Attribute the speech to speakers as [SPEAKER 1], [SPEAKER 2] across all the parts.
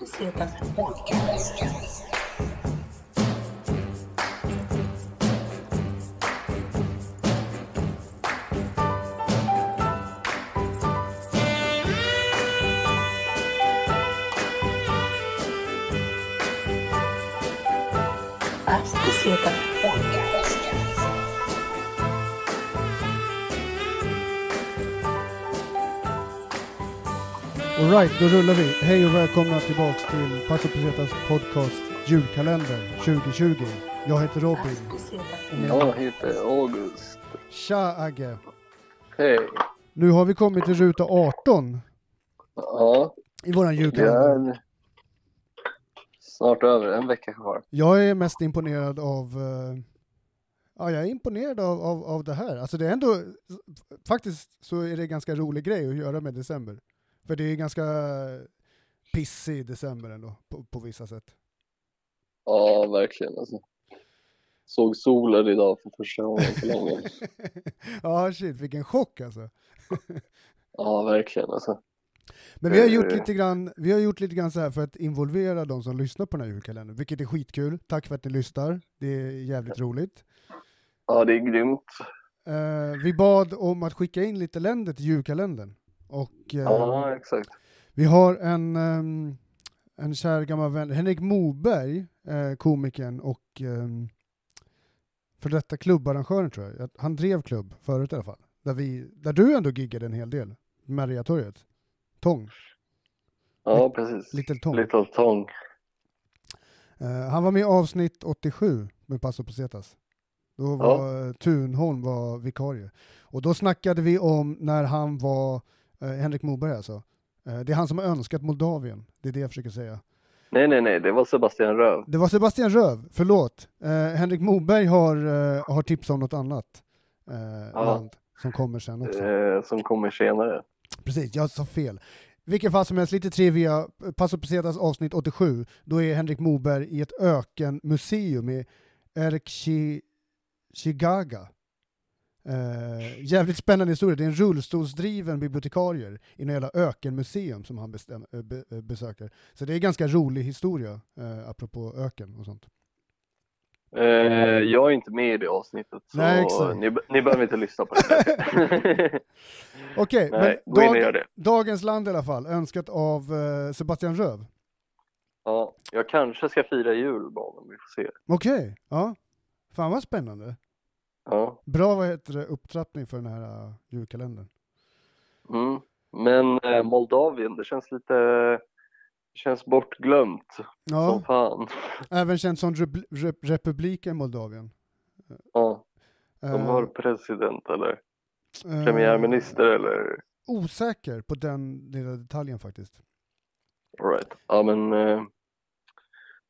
[SPEAKER 1] Desletas As Pesetas Podcast.
[SPEAKER 2] Alright, då rullar vi. Hej och välkomna tillbaks till Passo Pesetas podcast julkalender 2020. Jag heter
[SPEAKER 1] As
[SPEAKER 2] Robin.
[SPEAKER 1] Pesetas
[SPEAKER 3] Jag heter August.
[SPEAKER 2] Tja Agge!
[SPEAKER 3] Hej.
[SPEAKER 2] Nu har vi kommit till ruta 18
[SPEAKER 3] Ja,
[SPEAKER 2] i våran
[SPEAKER 3] det
[SPEAKER 2] julkalender.
[SPEAKER 3] är snart över. En vecka kvar.
[SPEAKER 2] Jag är mest imponerad av... eh, Ja, jag är imponerad av, av, av det här. Alltså det är ändå... Faktiskt så är det en ganska rolig grej att göra med december. För det är ganska pissig december ändå, på, på vissa sätt.
[SPEAKER 3] Ja, verkligen. Alltså. Såg solen idag för första gången på länge.
[SPEAKER 2] ja, shit, vilken chock alltså.
[SPEAKER 3] Ja, verkligen. Alltså.
[SPEAKER 2] Men vi har
[SPEAKER 3] Eh.
[SPEAKER 2] gjort lite grann, vi har gjort lite grann så här för att involvera de som lyssnar på den här julkalendern, vilket är skitkul. Tack för att ni lyssnar. Det är jävligt roligt.
[SPEAKER 3] Ja, det är grymt.
[SPEAKER 2] Eh, vi bad om att skicka in lite länder till julkalendern. Och eh,
[SPEAKER 3] Ja, exakt.
[SPEAKER 2] vi har en, ehm, en kär gammal vän, Henrik Moberg, uh, komikern och um, för detta klubbarrangören tror jag. Att Han drev klubb förut i alla fall. Där, vi, där du ändå giggade en hel del. Mariatorget. Tång.
[SPEAKER 3] Ja, precis.
[SPEAKER 2] Little Tång.
[SPEAKER 3] Little Tong.
[SPEAKER 2] Eh, han var med i avsnitt 87 med Passo Pesetas. Då var eh, Thunholm var vikarie. Och då snackade vi om när han var, eh, Henrik Moberg alltså, eh, det är han som har önskat Moldavien, det är det jag försöker säga.
[SPEAKER 3] Nej, nej, nej. Det var Sebastian Röv.
[SPEAKER 2] Det var Sebastian Röv, förlåt. Eh, Henrik Moberg har, eh, har tipsat om något annat eh, land som kommer sen också.
[SPEAKER 3] Eh, som kommer senare.
[SPEAKER 2] Precis, jag sa fel. Vilken fall som helst, lite trivia. Passo Pesetas avsnitt 87, då är Henrik Moberg i ett ökenmuseum i Erkshigaga. Eh, jävligt spännande historia. Det är en rullstolsdriven bibliotekarier i något jävla ökenmuseum som han bestäm- eh, be- eh, besöker. Så det är en ganska rolig historia, eh, apropå öken och sånt.
[SPEAKER 3] Eh, jag är inte med i det avsnittet, så
[SPEAKER 2] Nej, exakt.
[SPEAKER 3] ni, ni behöver inte lyssna på det.
[SPEAKER 2] Okej,
[SPEAKER 3] nej,
[SPEAKER 2] men
[SPEAKER 3] gå in och
[SPEAKER 2] dag-
[SPEAKER 3] gör det.
[SPEAKER 2] dagens land i alla fall, önskat av eh, Sebastian Röv.
[SPEAKER 3] Ja, jag kanske ska fira jul med honom. Vi får se.
[SPEAKER 2] Okej, ja. Fan vad spännande.
[SPEAKER 3] Ja.
[SPEAKER 2] Bra vad heter det, upptrappning för den här äh, julkalendern.
[SPEAKER 3] Mm. Men eh, Moldavien, det känns lite... Det känns bortglömt
[SPEAKER 2] Ja,
[SPEAKER 3] som fan.
[SPEAKER 2] även känd som rep- rep- republiken Moldavien.
[SPEAKER 3] Ja, de
[SPEAKER 2] Eh,
[SPEAKER 3] har president eller
[SPEAKER 2] eh,
[SPEAKER 3] premiärminister eller...
[SPEAKER 2] Osäker på den lilla detaljen faktiskt.
[SPEAKER 3] All right. Ja, men... Eh,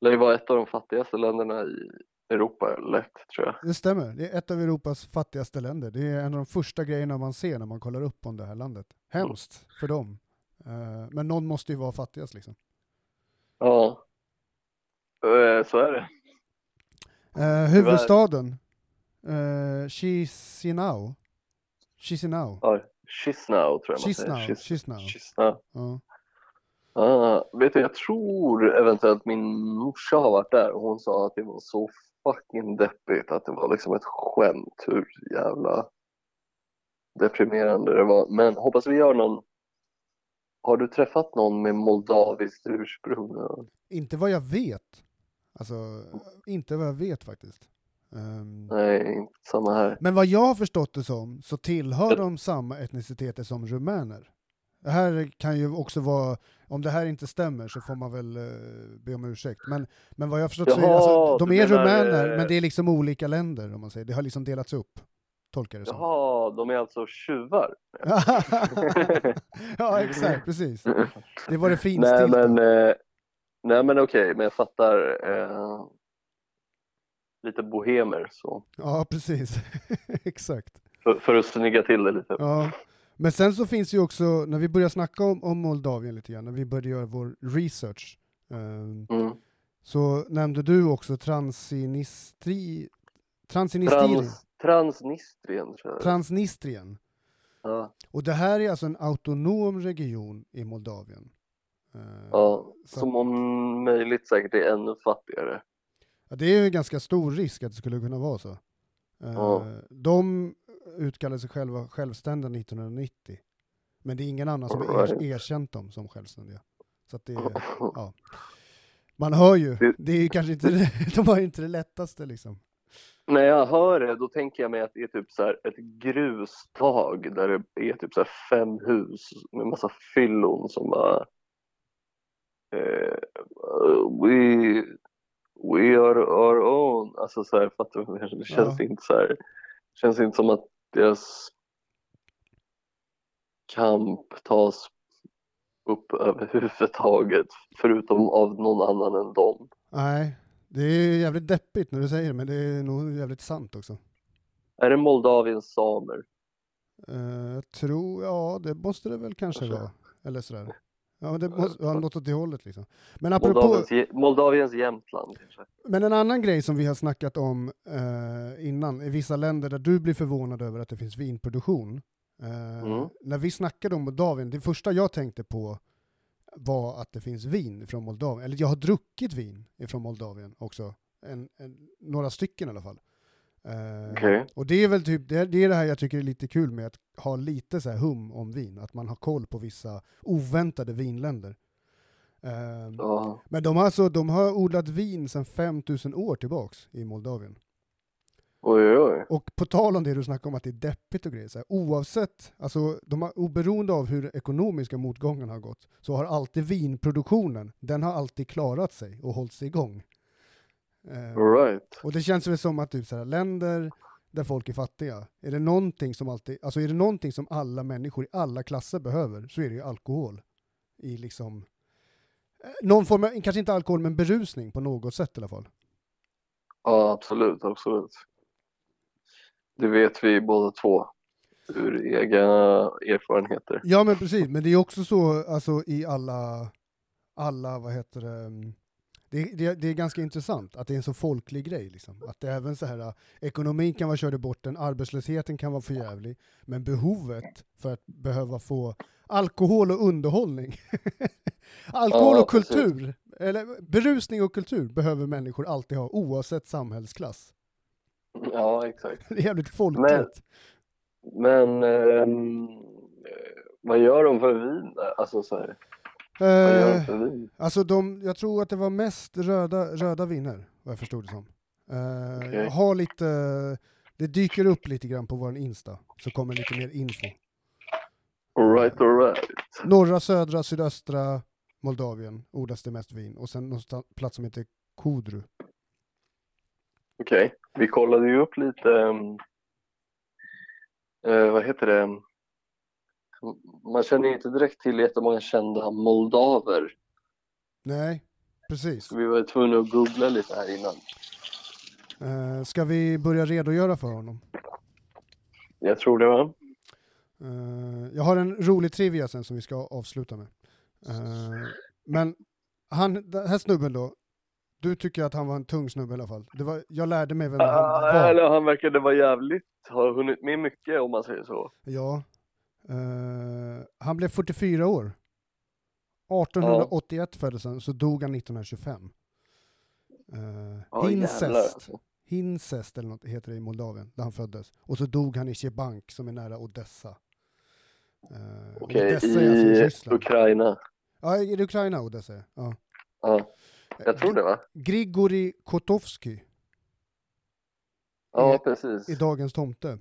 [SPEAKER 3] det var ett av de fattigaste länderna i Europa, lätt tror jag.
[SPEAKER 2] Det stämmer, det är ett av Europas fattigaste länder. Det är en av de första grejerna man ser när man kollar upp om det här landet. Hemskt för dem. Eh, Men någon måste ju vara fattigast liksom.
[SPEAKER 3] Ja, eh, så är det.
[SPEAKER 2] Eh, Huvudstaden, eh, Chisinau. Chisinau.
[SPEAKER 3] Ja, Chisinau tror jag man säger.
[SPEAKER 2] Chisinau.
[SPEAKER 3] Chis-
[SPEAKER 2] Chisinau.
[SPEAKER 3] Chisinau.
[SPEAKER 2] Ja.
[SPEAKER 3] Ah, vet du, jag tror eventuellt min morsa har varit där och hon sa att det var så fucking deppigt att det var liksom ett skämt hur jävla deprimerande det var. Men hoppas vi gör någon. Har du träffat någon med moldaviskt ursprung?
[SPEAKER 2] Inte vad jag vet. Alltså, inte vad jag vet faktiskt. Ehm,
[SPEAKER 3] Nej, inte samma här.
[SPEAKER 2] men vad jag har förstått det som så tillhör
[SPEAKER 3] Ja.
[SPEAKER 2] de samma etniciteter som rumäner. Det här kan ju också vara, om det här inte stämmer så får man väl uh, be om ursäkt. Men, men vad jag har förstått så är
[SPEAKER 3] Jaha,
[SPEAKER 2] alltså, de
[SPEAKER 3] du
[SPEAKER 2] är
[SPEAKER 3] menar,
[SPEAKER 2] rumäner,
[SPEAKER 3] eh,
[SPEAKER 2] men det är liksom olika länder om man säger. Det har liksom delats upp, tolkar det som.
[SPEAKER 3] Jaha, de är alltså tjuvar?
[SPEAKER 2] ja, exakt, precis. Det var det
[SPEAKER 3] Nej
[SPEAKER 2] finstilta.
[SPEAKER 3] men, eh, nej men okej, men jag fattar. Eh, lite bohemer så.
[SPEAKER 2] Ja, precis. exakt.
[SPEAKER 3] För, för att snygga till det lite.
[SPEAKER 2] Ja. Men sen så finns ju också, när vi började snacka om, om Moldavien lite grann, när vi började göra vår research, ehm,
[SPEAKER 3] Mm.
[SPEAKER 2] så nämnde du också Transnistri, Transnistrien.
[SPEAKER 3] Trans, transnistrien tror jag.
[SPEAKER 2] Transnistrien.
[SPEAKER 3] ja.
[SPEAKER 2] Och det här är alltså en autonom region i Moldavien. Eh,
[SPEAKER 3] Ja,
[SPEAKER 2] så-
[SPEAKER 3] som om möjligt säkert är ännu fattigare.
[SPEAKER 2] Ja, det är ju en ganska stor risk att det skulle kunna vara så. Eh,
[SPEAKER 3] Ja.
[SPEAKER 2] De utkallade sig själva självständiga 1990. Men det är ingen annan som har er,
[SPEAKER 3] Alright.
[SPEAKER 2] erkänt dem som självständiga. Så att det är, ja. Man hör ju,
[SPEAKER 3] Det-
[SPEAKER 2] det är ju kanske inte, det- de har ju inte det lättaste liksom.
[SPEAKER 3] När jag hör det, då tänker jag mig att det är typ så här ett grustag där det är typ så här fem hus med massa fyllon som bara... Eh, we, we are our own. Alltså så här, fattar du? vad jag menar? Det känns
[SPEAKER 2] Ja.
[SPEAKER 3] inte så här... känns inte som att deras kamp tas upp överhuvudtaget, förutom av någon annan än dem.
[SPEAKER 2] Nej, det är jävligt deppigt när du säger det, men det är nog jävligt sant också.
[SPEAKER 3] Är det Moldaviens samer?
[SPEAKER 2] Eh, Jag tror, ja det måste det väl kanske
[SPEAKER 3] Kanske.
[SPEAKER 2] vara. Eller sådär. Ja, men det måste, ja, något åt det hållet liksom. Men apropå,
[SPEAKER 3] Moldaviens, Je- Moldaviens Jämtland kanske.
[SPEAKER 2] Men en annan grej som vi har snackat om eh, innan, i vissa länder där du blir förvånad över att det finns vinproduktion. Eh,
[SPEAKER 3] Mm.
[SPEAKER 2] När vi snackade om Moldavien, det första jag tänkte på var att det finns vin från Moldavien. Eller jag har druckit vin från Moldavien också. En, en, några stycken i alla fall. Eh,
[SPEAKER 3] Okej.
[SPEAKER 2] Och det är väl typ, det, är- det är det här jag tycker är lite kul med att ha lite så här hum om vin, att man har koll på vissa oväntade vinländer. Eh,
[SPEAKER 3] Ja.
[SPEAKER 2] men de har, alltså, de har odlat vin sedan 5000 år tillbaks i Moldavien.
[SPEAKER 3] Oj, oj, oj.
[SPEAKER 2] Och på tal om det du snackade om att det är deppigt och grejer, så här, oavsett, alltså de har, oberoende av hur ekonomiska motgången har gått, så har alltid vinproduktionen, den har alltid klarat sig och hållit sig igång. Eh,
[SPEAKER 3] All right.
[SPEAKER 2] och det känns väl som att typ så här, länder där folk är fattiga, är det någonting som alltid, alltså är det någonting som alla människor i alla klasser behöver så är det ju alkohol. I liksom, eh, någon form av, kanske inte alkohol men berusning på något sätt i alla fall.
[SPEAKER 3] Ja, absolut, absolut. Det vet vi båda två ur egna erfarenheter.
[SPEAKER 2] Ja men precis, men det är också så alltså i alla, alla vad heter det, mm, det, det, det är ganska intressant att det är en så folklig grej liksom. Att det är även så här, eh, ekonomin kan vara körd i botten, arbetslösheten kan vara för jävlig, men behovet för att behöva få alkohol och underhållning, alkohol
[SPEAKER 3] Ja,
[SPEAKER 2] och kultur, eller berusning och kultur behöver människor alltid ha oavsett samhällsklass.
[SPEAKER 3] Ja, exakt.
[SPEAKER 2] Det är jävligt folkligt.
[SPEAKER 3] Men ehm, eh, vad gör de för vin? där? Alltså så här, vad gör de
[SPEAKER 2] Eh,
[SPEAKER 3] för vin?
[SPEAKER 2] Alltså de, jag tror att det var mest röda, röda viner, vad jag förstod det som. Eh,
[SPEAKER 3] Okej.
[SPEAKER 2] Jag har lite, det dyker upp lite grann på vår Insta, så kommer lite mer info.
[SPEAKER 3] All right, all right.
[SPEAKER 2] Norra, södra, sydöstra Moldavien odlas det mest vin och sen någon plats som heter Kodru.
[SPEAKER 3] Okej, vi kollade ju upp lite, ehm, eh, vad heter det, man känner ju inte direkt till jättemånga kända moldaver.
[SPEAKER 2] Nej, precis.
[SPEAKER 3] Så vi var tvungna att googla lite här innan.
[SPEAKER 2] Eh, ska vi börja redogöra för honom?
[SPEAKER 3] Jag tror det va?
[SPEAKER 2] Eh, jag har en rolig trivia sen som vi ska avsluta med. Eh, men han, den här snubben då, du tycker att han var en tung snubbe i alla fall. Det var, jag lärde mig vem han
[SPEAKER 3] Ah,
[SPEAKER 2] var.
[SPEAKER 3] eller han verkade vara jävligt, har hunnit med mycket om man säger så.
[SPEAKER 2] Ja. Eh, han blev 44 år. 1881 föddes han, så dog han 1925. Eh,
[SPEAKER 3] Ja, jävlar,
[SPEAKER 2] incest.
[SPEAKER 3] alltså.
[SPEAKER 2] Hincest eller något heter det i Moldavien, där han föddes. Och så dog han i Chebank som är nära Odessa. Eh, och
[SPEAKER 3] Okej,
[SPEAKER 2] Odessa är alltså
[SPEAKER 3] i
[SPEAKER 2] Ryssland.
[SPEAKER 3] Ukraina.
[SPEAKER 2] Ja, är det Ukraina Odessa är? Ja.
[SPEAKER 3] Ja, jag tror det va?
[SPEAKER 2] Grigori Kotovsky
[SPEAKER 3] Ja,
[SPEAKER 2] I- i
[SPEAKER 3] precis.
[SPEAKER 2] Dagens Tomte.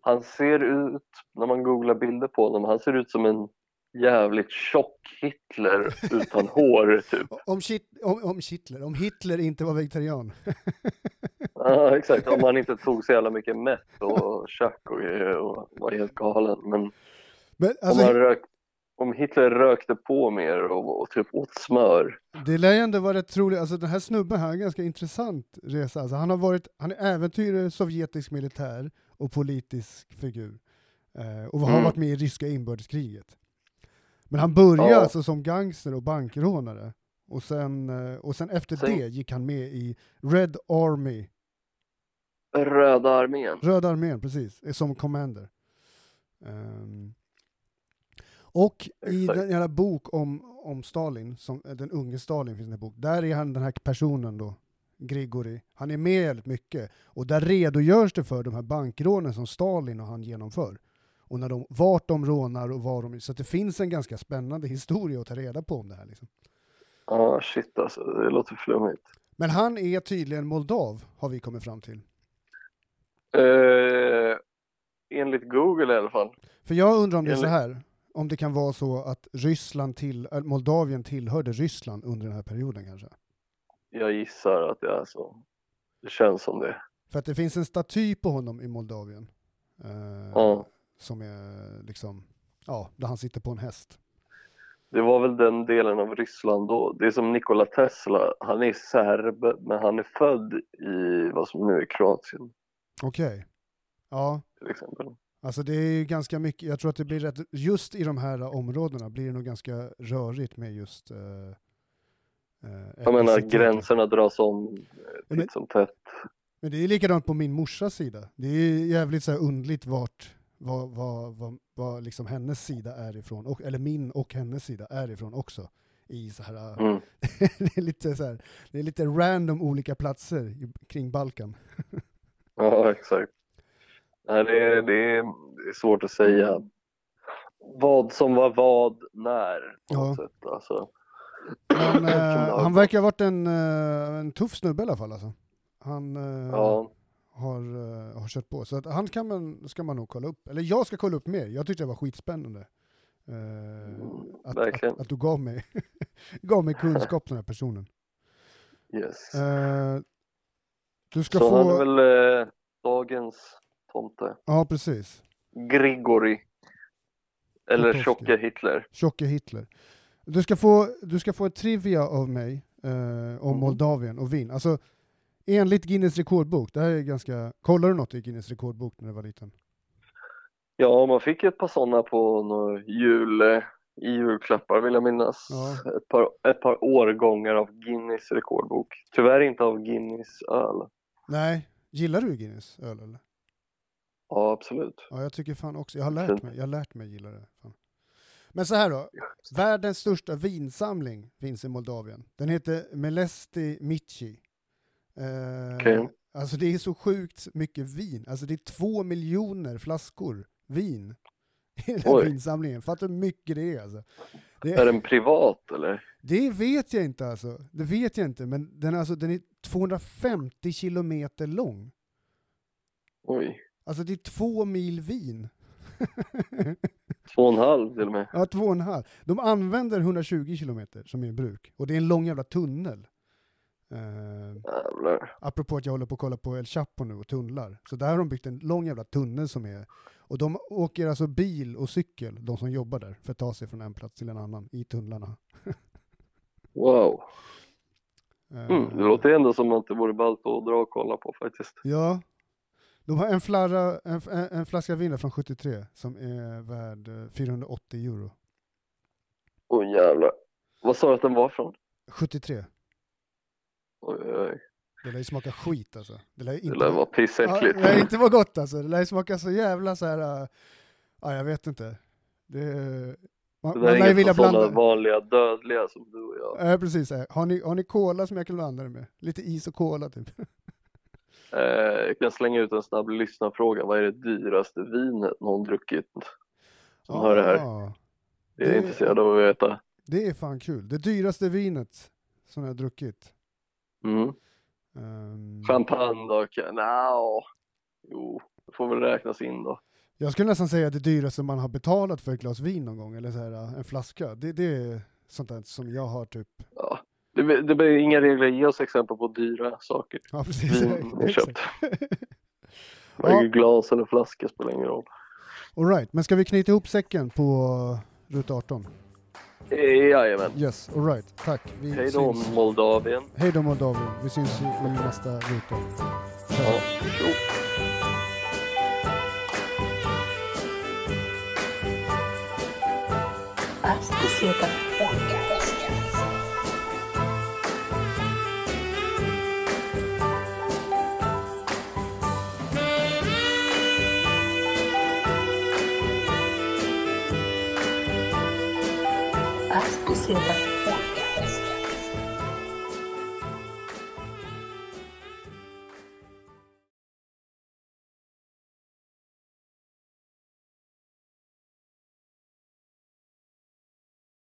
[SPEAKER 3] Han ser ut, när man googlar bilder på honom, han ser ut som en jävligt tjock Hitler utan hår typ.
[SPEAKER 2] Om, Kit, om, om Hitler, om Hitler inte var vegetarian.
[SPEAKER 3] Ja, exakt. Om han inte tog så jävla mycket meth och tjack och, grejer och var helt galen. Men
[SPEAKER 2] Men
[SPEAKER 3] om, han
[SPEAKER 2] alltså,
[SPEAKER 3] rök, om Hitler rökte på mer och, och typ åt smör.
[SPEAKER 2] det lär ju ändå vara rätt troligt, alltså den här snubben här har en ganska intressant resa. Alltså, han har varit, han är äventyrare, sovjetisk militär och politisk figur. Eh, och har
[SPEAKER 3] Mm.
[SPEAKER 2] varit med i ryska inbördeskriget. Men han började
[SPEAKER 3] Ja.
[SPEAKER 2] alltså som gangster och bankrånare. Och sen, eh, och sen efter
[SPEAKER 3] Sen-
[SPEAKER 2] det gick han med i Red Army
[SPEAKER 3] Röda armén.
[SPEAKER 2] Röda armén, precis. eh, Som commander. Ehm, Och i
[SPEAKER 3] Exakt.
[SPEAKER 2] den jävla bok om, om Stalin, som, eh, den unge Stalin finns det en bok, där är han den här personen då, Grigori, han är med jävligt mycket. Och där redogörs det för de här bankrånen som Stalin och han genomför. Och när de, vart de rånar och var de... Så att det finns en ganska spännande historia att ta reda på om det här. Liksom.
[SPEAKER 3] Ja, shit alltså. Det låter flummigt.
[SPEAKER 2] Men han är tydligen moldav, har vi kommit fram till.
[SPEAKER 3] Eh, enligt Google i alla fall.
[SPEAKER 2] För jag undrar om det är så
[SPEAKER 3] Enligt-
[SPEAKER 2] här, om det kan vara så att Ryssland till, äh, Moldavien tillhörde Ryssland under den här perioden kanske?
[SPEAKER 3] Jag gissar att det är så. Det känns som det.
[SPEAKER 2] För att det finns en staty på honom i Moldavien. eh,
[SPEAKER 3] Ja.
[SPEAKER 2] Som är liksom, ja, där han sitter på en häst.
[SPEAKER 3] Det var väl den delen av Ryssland då. Det är som Nikola Tesla. Han är serb, men han är född i vad som nu är Kroatien
[SPEAKER 2] Okej. Ja,
[SPEAKER 3] till exempel.
[SPEAKER 2] alltså det är ju ganska mycket, jag tror att det blir rätt, just i de här områdena blir det nog ganska rörigt med just eh, eh,
[SPEAKER 3] Jag menar,
[SPEAKER 2] etnicitet.
[SPEAKER 3] gränserna dras om eh,
[SPEAKER 2] Men-
[SPEAKER 3] titt som tätt.
[SPEAKER 2] Men det är likadant på min morsas sida. Det är jävligt så här undligt vart, vad, vad, vad, vad liksom hennes sida är ifrån, och, eller min och hennes sida är ifrån också. I så här, eh,
[SPEAKER 3] Mm.
[SPEAKER 2] det, är lite så här, det är lite random olika platser i, kring Balkan.
[SPEAKER 3] Ja, exakt. Nej, det, är, det, är, det är svårt att säga vad som var vad när. På
[SPEAKER 2] Ja.
[SPEAKER 3] något sätt, alltså.
[SPEAKER 2] Men, eh,
[SPEAKER 3] Som-
[SPEAKER 2] han verkar ha varit en, eh, en tuff snubbe i alla fall. Alltså. Han eh,
[SPEAKER 3] Ja,
[SPEAKER 2] har, eh, har kört på. Så att han kan man, ska man nog kolla upp. Eller jag ska kolla upp mer. Jag tyckte det var skitspännande. Eh,
[SPEAKER 3] Mm.
[SPEAKER 2] att, att,
[SPEAKER 3] verkligen.
[SPEAKER 2] att du gav mig, gav mig kunskap om den här personen.
[SPEAKER 3] yes.
[SPEAKER 2] Eh, du ska
[SPEAKER 3] Så
[SPEAKER 2] få...
[SPEAKER 3] han är väl eh, dagens tomte.
[SPEAKER 2] Ja, precis.
[SPEAKER 3] Grigori. Eller
[SPEAKER 2] Potocki.
[SPEAKER 3] tjocke Hitler.
[SPEAKER 2] Tjocke Hitler. Du ska få, du ska få ett trivia av mig eh, om
[SPEAKER 3] Mhm.
[SPEAKER 2] Moldavien och vin. Alltså, enligt Guinness rekordbok, det här är ganska... Kollade du något i Guinness rekordbok när du var liten?
[SPEAKER 3] Ja, man fick ju ett par sådana på några jul, eh, i julklappar vill jag minnas.
[SPEAKER 2] Ja.
[SPEAKER 3] Ett, par, ett par årgångar av Guinness rekordbok. Tyvärr inte av Guinness öl.
[SPEAKER 2] Nej. Gillar du Guinness öl eller?
[SPEAKER 3] Ja, absolut.
[SPEAKER 2] Ja, jag tycker fan också. Jag har lärt
[SPEAKER 3] Fint.
[SPEAKER 2] mig, jag har lärt mig gilla det. Fan. Men så här då. Världens största vinsamling finns i Moldavien. Den heter Melesti Mici. Eh,
[SPEAKER 3] Okej.
[SPEAKER 2] Alltså det är så sjukt mycket vin. Alltså det är två miljoner flaskor vin i den här
[SPEAKER 3] Oj.
[SPEAKER 2] vinsamlingen. Fattar hur mycket det är alltså. Det,
[SPEAKER 3] Är den privat eller?
[SPEAKER 2] det vet jag inte alltså. Det vet jag inte. Men den, är alltså, den är 250 kilometer lång.
[SPEAKER 3] Oj,
[SPEAKER 2] Alltså det är två mil vin.
[SPEAKER 3] två och en halv till och med.
[SPEAKER 2] Ja, två och en halv. De använder 120 kilometer som är i bruk. Och det är en lång jävla tunnel. Eh,
[SPEAKER 3] Jävlar.
[SPEAKER 2] apropå att jag håller på att kolla på El Chapo nu och tunnlar. Så där har de byggt en lång jävla tunnel som är... Och de åker alltså bil och cykel, de som jobbar där, för att ta sig från en plats till en annan i tunnlarna.
[SPEAKER 3] Wow.
[SPEAKER 2] Eh,
[SPEAKER 3] Mm, det låter ändå som att det vore ballt att dra och kolla på faktiskt.
[SPEAKER 2] Ja. De har en, flarra, en, f- en, en flaska vin där från 73 som är värd eh, 480 euro.
[SPEAKER 3] Oj jävlar. Vad sa du att den var från?
[SPEAKER 2] 73.
[SPEAKER 3] Oj, oj, oj.
[SPEAKER 2] Det lär ju smaka skit alltså. Det lär ju
[SPEAKER 3] Det
[SPEAKER 2] inte
[SPEAKER 3] lär vara pissäckligt.
[SPEAKER 2] Ja, det lär inte vara gott alltså. Det lär ju smaka så jävla så här... äh, Ja, jag vet inte. Det, man,
[SPEAKER 3] Det
[SPEAKER 2] man
[SPEAKER 3] där
[SPEAKER 2] lär ju
[SPEAKER 3] är
[SPEAKER 2] vilja
[SPEAKER 3] inget för sådana
[SPEAKER 2] blanda.
[SPEAKER 3] vanliga dödliga som du och jag.
[SPEAKER 2] Ja, precis. så här. Har ni, har ni cola som jag kan blanda det med? Lite is och cola typ.
[SPEAKER 3] Eh, jag kan slänga ut en snabb lyssnarfråga. Vad är det dyraste vinet någon druckit? Som hör det här.
[SPEAKER 2] Ja,
[SPEAKER 3] Det är
[SPEAKER 2] det-
[SPEAKER 3] jag intresserad av att veta.
[SPEAKER 2] det är fan kul. Det dyraste vinet som jag har druckit.
[SPEAKER 3] Mm.
[SPEAKER 2] Ehm,
[SPEAKER 3] Champagne då? Kan... No. Jo, det får väl räknas in då.
[SPEAKER 2] jag skulle nästan säga att det dyraste man har betalat för ett glas vin någon gång, eller så här, äh, en flaska. Det, det är sånt där som jag har typ...
[SPEAKER 3] Ja. Det, blir- det blir inga regler. Ge oss exempel på dyra saker.
[SPEAKER 2] Ja, precis.
[SPEAKER 3] Vin vi
[SPEAKER 2] Exakt.
[SPEAKER 3] köpt. Varje glas eller flaska spelar ingen roll.
[SPEAKER 2] All right, men ska vi knyta ihop säcken på ruta 18?
[SPEAKER 3] Eh, Jajamän.
[SPEAKER 2] Yes, all right. Tack. Vi
[SPEAKER 3] Hej då
[SPEAKER 2] syns.
[SPEAKER 3] Moldavien.
[SPEAKER 2] Hej då Moldavien. Vi syns i, i nästa ruta.
[SPEAKER 3] Ja, tjo.
[SPEAKER 1] hasta cierta punta. Puss Lukas.